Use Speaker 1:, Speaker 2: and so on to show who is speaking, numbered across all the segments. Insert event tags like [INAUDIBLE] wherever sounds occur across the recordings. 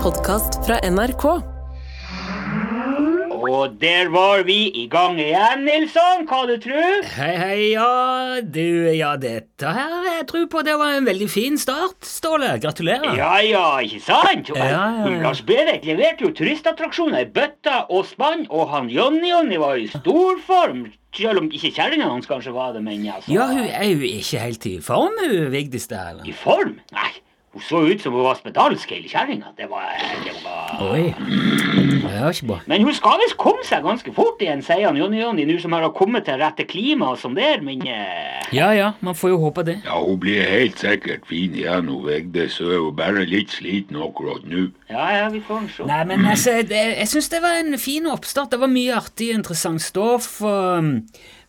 Speaker 1: podkast fra NRK.
Speaker 2: Og der var vi i gang igjen, Nilsson. Hva du tror?
Speaker 3: Hei, hei, ja, du, ja, dette her, jeg tror på det var en veldig fin start, Ståle. Gratulerer.
Speaker 2: Ja ja, ikke sant?
Speaker 3: Ja, ja, ja.
Speaker 2: Lars Berit leverte jo turistattraksjoner i bøtta og spann, og han Jonny-Jonny var i stor form. Selv om ikke kjerringa hans kanskje var det, men altså
Speaker 3: Ja, hun er jo ikke helt i form, hun Vigdis der.
Speaker 2: I form? Nei. Hun så ut som hun var spedalsk, hele kjerringa. Det var, det var
Speaker 3: Oi. Det var ikke bra.
Speaker 2: Men hun skal visst komme seg ganske fort igjen, sier han Jonny-Jonny, nå som hun har kommet til rette klima og sånn der, men eh,
Speaker 3: Ja, ja, man får jo håpe det.
Speaker 4: Ja, hun blir helt sikkert fin igjen, hun Vigdis. Hun er jo bare litt sliten akkurat nå.
Speaker 2: Ja ja, vi får nå se.
Speaker 3: Nei, men altså, det, jeg syns det var en fin oppstart. Det var mye artig, interessant stoff. og-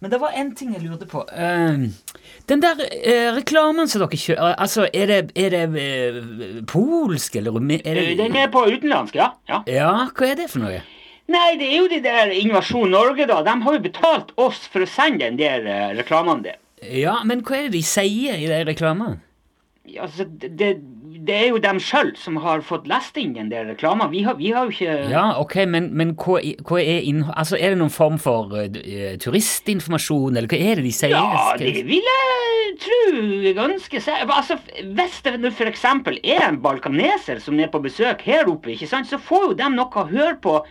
Speaker 3: men det var én ting jeg lurte på. Eh, den der eh, reklamen som dere kjører, altså, er det, er det eh, polsk eller rumen... er
Speaker 2: Eh,
Speaker 3: det-
Speaker 2: Den er på utenlandsk, ja. ja.
Speaker 3: Ja, hva er det for noe?
Speaker 2: Nei, det er jo de der Innovasjon Norge, da. De har jo betalt oss for å sende den der eh, reklamene der.
Speaker 3: Ja, men hva er det de sier i de reklamene?
Speaker 2: Ja, Altså, det, det- det er jo dem sjøl som har fått lest inn den der reklamen. Vi har, vi har jo ikke
Speaker 3: Ja, ok, men, men hva, i- hva er innhold... Altså, er det noen form for eh, d- eh, turistinformasjon, eller hva er det de sier?
Speaker 2: Ja,
Speaker 3: Skal-
Speaker 2: det vil jeg tro ganske se- Altså, Hvis det nå f.eks. er en balkaneser som er på besøk her oppe, ikke sant, så får jo dem noe å høre på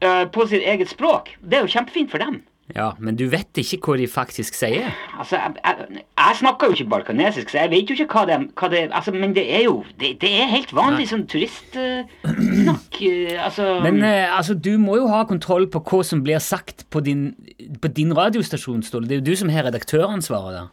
Speaker 2: eh, på sitt eget språk. Det er jo kjempefint for dem.
Speaker 3: Ja, men du vet ikke hva de faktisk sier?
Speaker 2: Altså, jeg, jeg, jeg snakker jo ikke balkanesisk, så jeg vet jo ikke hva det, hva det altså, Men det er jo Det, det er helt vanlig sånn turistsnakk. [CLEARS THROAT] altså
Speaker 3: Men eh, altså, du må jo ha kontroll på hva som blir sagt på din, på din radiostasjon, Ståle. Det er jo du som har redaktøransvaret der.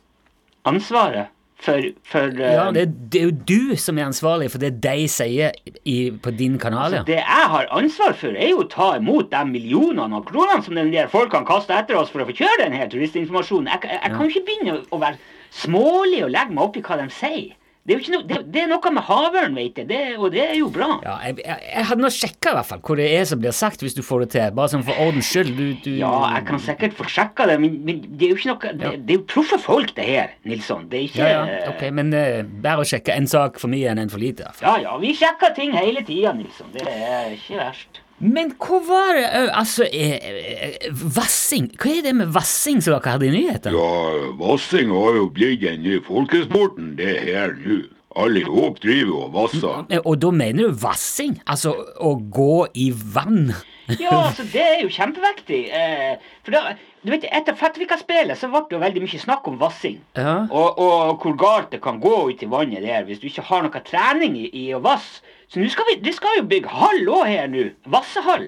Speaker 2: Ansvaret for, for eh,
Speaker 3: Ja, det, det er jo du som er ansvarlig for det de sier i, på din kanal, ja.
Speaker 2: det jeg har ansvar for, er jo å ta imot de millionene av kronene som den der folkene kaster etter oss for å få kjøre den her turistinformasjonen. Jeg, jeg, jeg kan jo ikke begynne å, å være smålig og legge meg opp i hva de sier. Det er jo ikke noe, det, det er noe med havørn, vet jeg, det, og det er jo bra.
Speaker 3: Ja, jeg, jeg, jeg hadde nå sjekka i hvert fall hva det er som blir sagt, hvis du får det til. Bare sånn for ordens skyld. Du, du,
Speaker 2: Ja, jeg kan sikkert få sjekka det, men, men det er jo ikke noe det, det er jo proffe folk, det her, Nilsson. Det er ikke
Speaker 3: Ja, ja, ok, men uh, bare å sjekke en sak for mye enn en for lite. i hvert fall.
Speaker 2: ja, ja, vi sjekker ting hele tida, Nilsson. Det er ikke verst.
Speaker 3: Men hva var det eh, Altså, eh, eh, vassing Hva er det med vassing som dere hadde i nyhetene?
Speaker 4: Ja, vassing har jo blitt den nye folkesporten, det er her nå. Alle i hop driver og vasser.
Speaker 3: Eh, Og da mener du vassing? Altså å gå i vann?
Speaker 2: Ja, altså, det er jo kjempeviktig. Eh, for da, du vet, Etter Fettvika-spelet så ble det jo veldig mye snakk om vassing.
Speaker 3: Ja.
Speaker 2: Og, og hvor galt det kan gå ute i vannet der hvis du ikke har noe trening i, i å vasse. Så nå skal vi, de skal jo bygge hall òg her nå. Vassehall.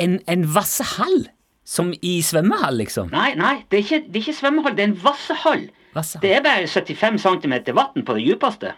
Speaker 3: En, en vassehall? Som i svømmehall, liksom?
Speaker 2: Nei, nei, det er ikke, det er ikke svømmehall, det er en vassehall. Det
Speaker 3: Vassehall.
Speaker 2: er bare 75 cm vann på det djupeste.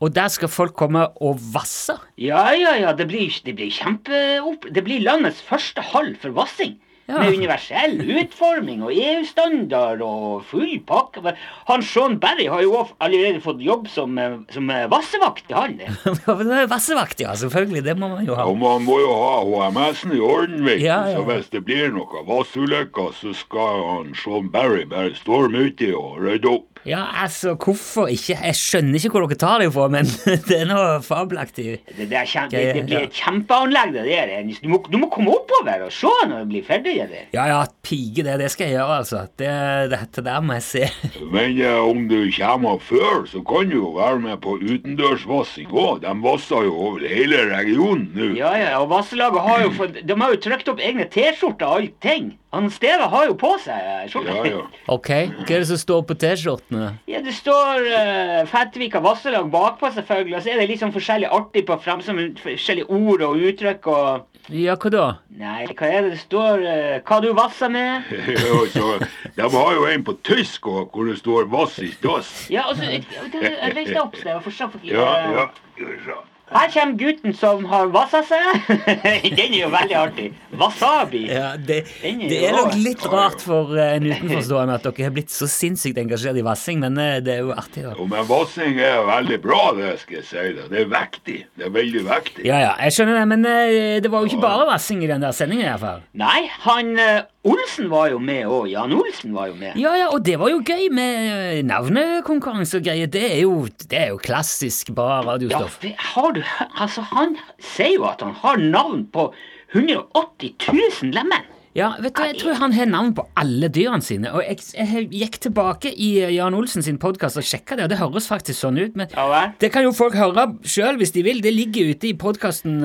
Speaker 3: Og der skal folk komme og vasse? [LAUGHS]
Speaker 2: Ja, ja, ja, det blir, det blir kjempeopp... Det blir landets første hall for vassing.
Speaker 3: Ja.
Speaker 2: Med universell utforming og EU-standard og full pakke. Men Han Sean Berry har jo også allerede fått jobb som, eh, som eh, vassevakt i hallen.
Speaker 3: Vassevakt, ja, selvfølgelig. Det må man jo ha.
Speaker 4: Og man må jo ha HMS-en i orden, vet du.
Speaker 3: Ja, ja.
Speaker 4: Så hvis det blir noe vassulykker, så skal han Sean Barry bare storme uti og rydde opp.
Speaker 3: Ja, altså, hvorfor ikke? Jeg skjønner ikke hvor dere tar det fra, men [LAUGHS] det er noe fabelaktig.
Speaker 2: Det, der kjem, det,
Speaker 3: Ja, ja,
Speaker 2: det blir
Speaker 3: ja.
Speaker 2: et kjempeanlegg, det der. Ennis. Du må, du må komme oppover og se når det blir ferdig. det der.
Speaker 3: Ja, ja, pige det, det skal jeg gjøre, altså. Det, dette der må jeg se. [LAUGHS]
Speaker 4: Men eh, om du kommer før, så kan du jo være med på utendørsvassing òg. De vasser jo over hele regionen nå.
Speaker 2: Ja, ja, og Vasselaget har jo fått De har jo trykt opp egne T-skjorter og allting. Han Steve har jo på seg eh, skjorte.
Speaker 4: Ja, ja.
Speaker 3: Ok, hva er det som står på T-skjortene?
Speaker 2: Ja, det står uh, Fettvika Vasselag bakpå, selvfølgelig. Og så er det litt sånn forskjellig artig på frem, som forskjellige ord og uttrykk og
Speaker 3: Ja, hva da?
Speaker 2: Nei, hva er det det står eh, Hva du vasser med?
Speaker 4: Ja, så, de har jo en på tysk også, hvor det står 'Vass i dass'.
Speaker 2: Ja, og så Jeg jeg reiste opp så jeg var forstått for
Speaker 4: Ja, ja. skal vi se.
Speaker 2: [LAUGHS] Her kommer gutten som har vassa seg. Den er jo veldig artig. Wasabi.
Speaker 3: Ja, det,
Speaker 2: Den er
Speaker 3: det
Speaker 2: jo
Speaker 3: er
Speaker 2: rå.
Speaker 3: nok litt rart for eh, en utenforstående at dere har blitt så sinnssykt engasjert i vassing, men eh, det er jo artig. da.
Speaker 4: Jo, men vassing er veldig bra, det skal jeg si deg. Det er viktig. Det er veldig viktig.
Speaker 3: Ja, ja, jeg skjønner det, men eh, det var jo ikke bare vassing i den der sendingen i hvert fall.
Speaker 2: Nei, han eh, Olsen var jo med òg. Jan Olsen var jo med.
Speaker 3: Ja, ja, og det var jo gøy med eh, navnekonkurranse og greier. Det er jo, det er jo klassisk bra
Speaker 2: Ja,
Speaker 3: radiostoff.
Speaker 2: det har du hø- Altså, han sier jo at han har navn på 180 000 lemen.
Speaker 3: Ja, vet du, Jeg tror han har navn på alle dyrene sine. Og jeg, jeg gikk tilbake i eh, Jan Olsen sin podkast og sjekka det, og det høres faktisk sånn ut. Men
Speaker 2: Ja vel?
Speaker 3: det kan jo folk høre sjøl hvis de vil. Det ligger ute i podkasten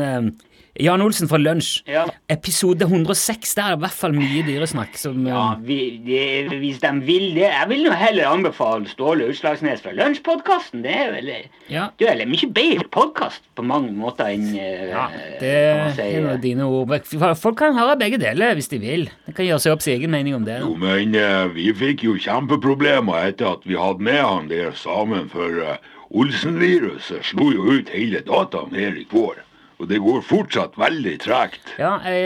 Speaker 3: Jan Olsen fra lunsj.
Speaker 2: Ja.
Speaker 3: Episode 106. Der er det i hvert fall mye dyresnakk. Som, eh,
Speaker 2: Ja, vi, det, hvis de vil det Jeg vil nå heller anbefale Ståle Utslagsnes fra Lunsjpodkasten. Det er vel
Speaker 3: ja.
Speaker 2: Du er en mye bedre podkast på mange måter enn eh,
Speaker 3: Ja, det
Speaker 2: kan man si.
Speaker 3: er nå dine ord. Folk kan høre begge deler hvis de vil. De kan gjøre seg opp sin egen mening om det.
Speaker 4: Jo, men eh, vi fikk jo kjempeproblemer etter at vi hadde med han der samen, for eh, Olsen-viruset slo jo ut hele dataen her i går. Og det går fortsatt veldig tregt.
Speaker 3: Ja, jeg,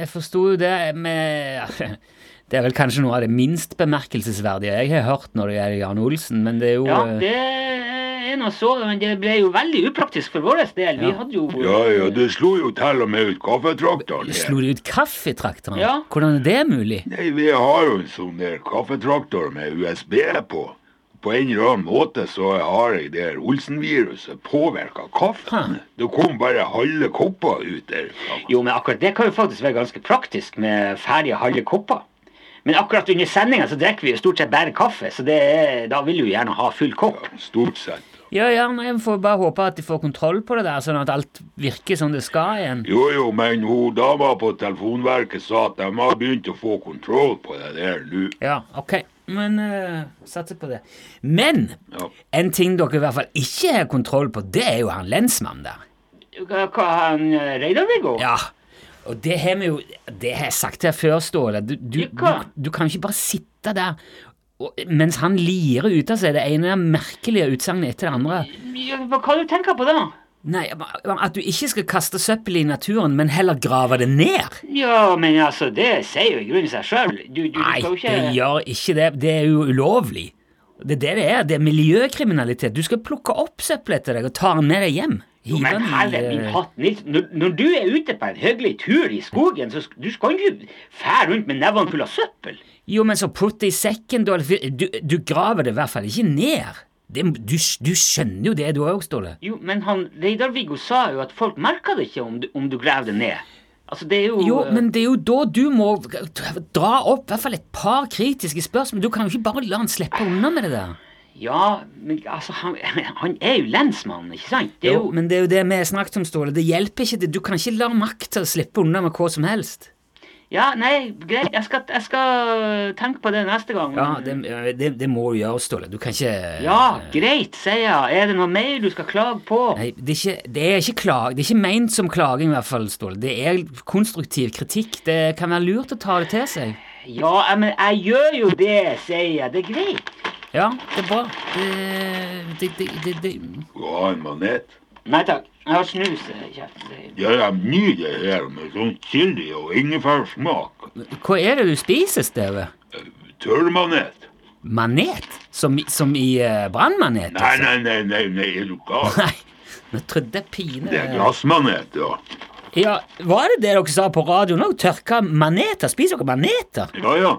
Speaker 3: jeg forsto jo det med [LAUGHS] Det er vel kanskje noe av det minst bemerkelsesverdige jeg har hørt når det gjelder Jan Olsen, men det er jo eh,
Speaker 2: Ja, det er nå så, men det ble jo veldig upraktisk for vår del. Vi
Speaker 3: Ja.
Speaker 2: hadde jo
Speaker 4: Ja, ja, det slo jo til og med ut kaffetrakteren.
Speaker 3: eh,
Speaker 4: her.
Speaker 3: Slo de ut kaffetrakteren?
Speaker 2: Ja.
Speaker 3: Hvordan er det mulig?
Speaker 4: Nei, vi har jo en sånn der kaffetraktor med USB på. På en eller annen måte så har jeg der Olsen-viruset påvirka kaffen. Det kom bare halve kopper ut der.
Speaker 2: Jo, men akkurat det kan jo faktisk være ganske praktisk med ferdige halve kopper. Men akkurat under sendinga så drikker vi jo stort sett bare kaffe, så det er, da vil du jo gjerne ha full kopp.
Speaker 4: Stort sett.
Speaker 3: Ja, ja, men jeg får bare håpe at de får kontroll på det der, sånn at alt virker som det skal igjen.
Speaker 4: Jo jo, men hun dama på Telefonverket sa at de har begynt å få kontroll på det der nå.
Speaker 3: Ja, ok. Men eh, satser på det. Men
Speaker 4: Ja.
Speaker 3: en ting dere i hvert fall ikke har kontroll på, det er jo han lensmannen der.
Speaker 2: Hva hva har han eh, Reidar-Viggo?
Speaker 3: Ja, og det har vi jo Det har jeg sagt til deg før, Ståle. Du, du, du,
Speaker 2: Hva?
Speaker 3: du kan ikke bare sitte der og, mens han lirer ut av seg det ene merkelige utsagnet etter det andre.
Speaker 2: Ja, Hva hva du tenker på da?
Speaker 3: Nei, At du ikke skal kaste søppel i naturen, men heller grave det ned.
Speaker 2: Ja, men altså, det sier jo i grunnen seg sjøl. Du, du, du
Speaker 3: Nei,
Speaker 2: skal
Speaker 3: det
Speaker 2: jo ikke
Speaker 3: gjør ikke det. Det er jo ulovlig. Det er det det er. Det er miljøkriminalitet. Du skal plukke opp søppelet etter deg og ta den med deg hjem.
Speaker 2: Jo,
Speaker 3: Hive
Speaker 2: men
Speaker 3: den i,
Speaker 2: herre min
Speaker 3: eh,
Speaker 2: hatt, Nils, når, når du er ute på en hyggelig tur i skogen, så sk- du skal jo ikke fære rundt med nevene fulle av søppel.
Speaker 3: Jo, men så putt det i sekken, Dolph. Du, du graver det i hvert fall ikke ned. Det, du, du skjønner jo det, du òg, Ståle.
Speaker 2: Jo, men han Reidar-Viggo sa jo at folk merka det ikke om du, om du grav det ned. Altså, det er jo
Speaker 3: Jo,
Speaker 2: eh,
Speaker 3: men det er jo da du må dra opp i hvert fall et par kritiske spørsmål. Du kan jo ikke bare la han slippe unna med det der.
Speaker 2: Ja, men altså, han, han er jo lensmann, ikke sant? Det er
Speaker 3: Jo,
Speaker 2: jo,
Speaker 3: men det er jo det vi har snakket om, Ståle. Det hjelper ikke. det. Du kan ikke la makta slippe unna med hva som helst.
Speaker 2: ja, nei, greit, jeg skal, jeg skal tenke på det neste gang.
Speaker 3: Ja, det, det, det må du gjøre, Ståle. Du kan ikke
Speaker 2: Ja, greit, sier jeg. Er det noe mer du skal klage på?
Speaker 3: Nei, det er ikke, det er ikke klag, det er ikke ment som klaging, i hvert fall, Ståle. Det er konstruktiv kritikk. Det kan være lurt å ta det til seg.
Speaker 2: Ja, jeg- men jeg gjør jo det, sier jeg. Det er greit.
Speaker 3: Ja, det er bra. Det, det, det, det, det.
Speaker 4: Skal ha en manet.
Speaker 2: Nei takk, jeg har snus i kjeften.
Speaker 4: Ja, de nyr det her med sånn chili og ingefærsmak.
Speaker 3: Hva er det du spiser, Steve?
Speaker 4: Tørrmanet.
Speaker 3: Manet? Som, i- som i uh, brannmanet?
Speaker 4: Nei, nei, nei, nei, nei, er du gal?
Speaker 3: [LAUGHS] nei. Nå trodde jeg pine
Speaker 4: Det er glassmanet, ja.
Speaker 3: Ja, Var det det dere sa på radioen òg? Tørka maneter? Spiser dere maneter?
Speaker 4: Ja, ja.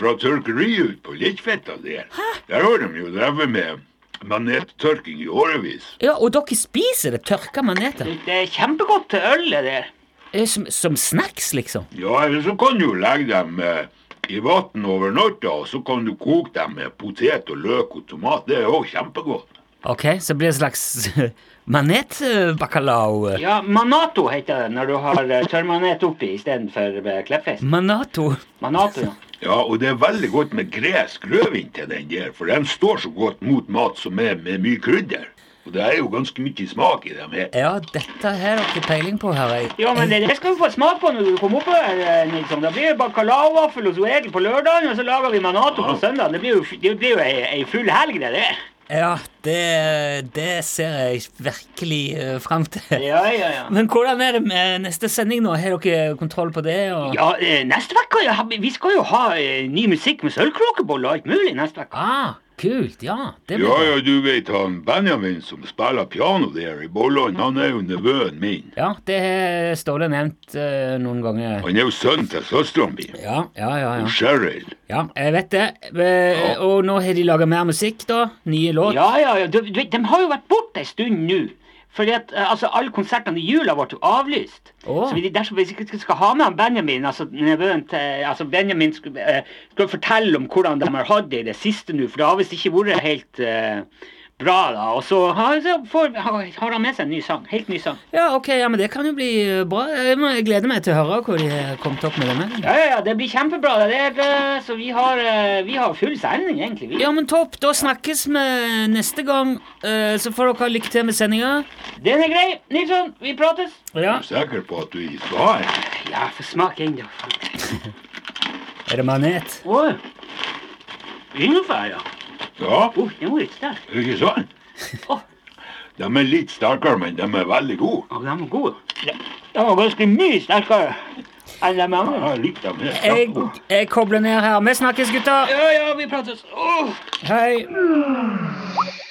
Speaker 4: Fra tørkeriet ut på Likkfetta der. Der har de jo drevet med manettørking i årevis.
Speaker 3: Ja, Og dere spiser det? Tørka maneter?
Speaker 2: Det er kjempegodt til øl, det der.
Speaker 3: Eh, Som, som snacks, liksom?
Speaker 4: Ja, eller så kan du jo legge dem eh, i vann over natta, og så kan du koke dem med potet og løk og tomat. Det er jo kjempegodt.
Speaker 3: Ok, så blir det en slags [LAUGHS] manetbacalao?
Speaker 2: Ja, Manato heter det når du har eh, tørrmanet oppi istedenfor eh, kleppfisk.
Speaker 3: Manato?
Speaker 2: Manato, ja.
Speaker 4: Ja, og det er veldig godt med gresk rødvin til den der, for den står så godt mot mat som er med mye krydder. Og det er jo ganske mye smak i dem her.
Speaker 3: Ja, dette har dere peiling på, hører jeg.
Speaker 2: Ja, men det, det skal vi få smak på når du kommer opp her, eh, Nilsson. Da blir det bacalaovaffel hos Egil på lørdagen, og så lager vi manato på søndag. Det blir jo, f- det blir jo ei, ei full helg, det der.
Speaker 3: Ja, det, det ser jeg virkelig uh, fram til.
Speaker 2: Ja, ja, ja.
Speaker 3: Men hvordan er det med neste sending nå? Har dere kontroll på det? Og...
Speaker 2: Ja, eh, neste uke ja, Vi skal jo ha eh, ny musikk med sølvkråkebolle og alt mulig neste uke.
Speaker 3: Ah, kult. Ja. Det blir
Speaker 4: Ja,
Speaker 3: bra.
Speaker 4: ja, du vet han Benjamin som spiller piano der i Bolland, han er jo nevøen min.
Speaker 3: Ja, det har Ståle nevnt eh, noen ganger.
Speaker 4: Han er jo sønnen til søstera mi,
Speaker 3: Ja, ja, ja. ja.
Speaker 4: Cheryl.
Speaker 3: ja jeg vet det. Eh,
Speaker 4: Ja.
Speaker 3: Og nå har de laga mer musikk, da. Nye låt.
Speaker 2: Ja, ja, ja. Du, du vet, de har jo vært borte ei stund nå. Fordi at eh, altså, Alle konsertene i jula ble jo avlyst.
Speaker 3: Åh.
Speaker 2: Så vi, dersom vi ikke skal ha med han Benjamin altså, nevøen til, altså Benjamin skulle, eh, skulle fortelle om hvordan de har hatt det i det siste nå, for det har visst ikke vært helt eh, bra. da. Og så har, så får, har, har han med seg en ny sang. Helt ny sang.
Speaker 3: Ja, ok, ja, men det kan jo bli eh, bra. Jeg må- jeg gleder meg til å høre hvor de har kommet opp med denne.
Speaker 2: Ja, ja, ja, det blir kjempebra. det der, eh, Så vi har, eh, vi har full sending, egentlig. Vi.
Speaker 3: Ja, men topp. Da snakkes vi neste gang. eh, Så får dere ha lykke til med sendinga.
Speaker 2: Den er grei. Nilsson, vi prates.
Speaker 3: Ja.
Speaker 4: Er du sikker på at du ikke skal ha en?
Speaker 2: Ja, få smake ennå.
Speaker 3: Er det manet?
Speaker 2: Oi. Ingefær, ja.
Speaker 4: Ja,
Speaker 2: Oh, den var litt sterk.
Speaker 4: ikke sant?
Speaker 2: Å.
Speaker 4: De er litt sterkere, men de er veldig gode.
Speaker 2: Å, den var god. Den var ganske mye sterkere enn de andre.
Speaker 4: Jeg liker dem helt
Speaker 3: Jeg,
Speaker 4: kjempegodt.
Speaker 3: jeg kobler ned her. Vi snakkes, gutter.
Speaker 2: Ja, ja, vi prates. Åh.
Speaker 3: Hei.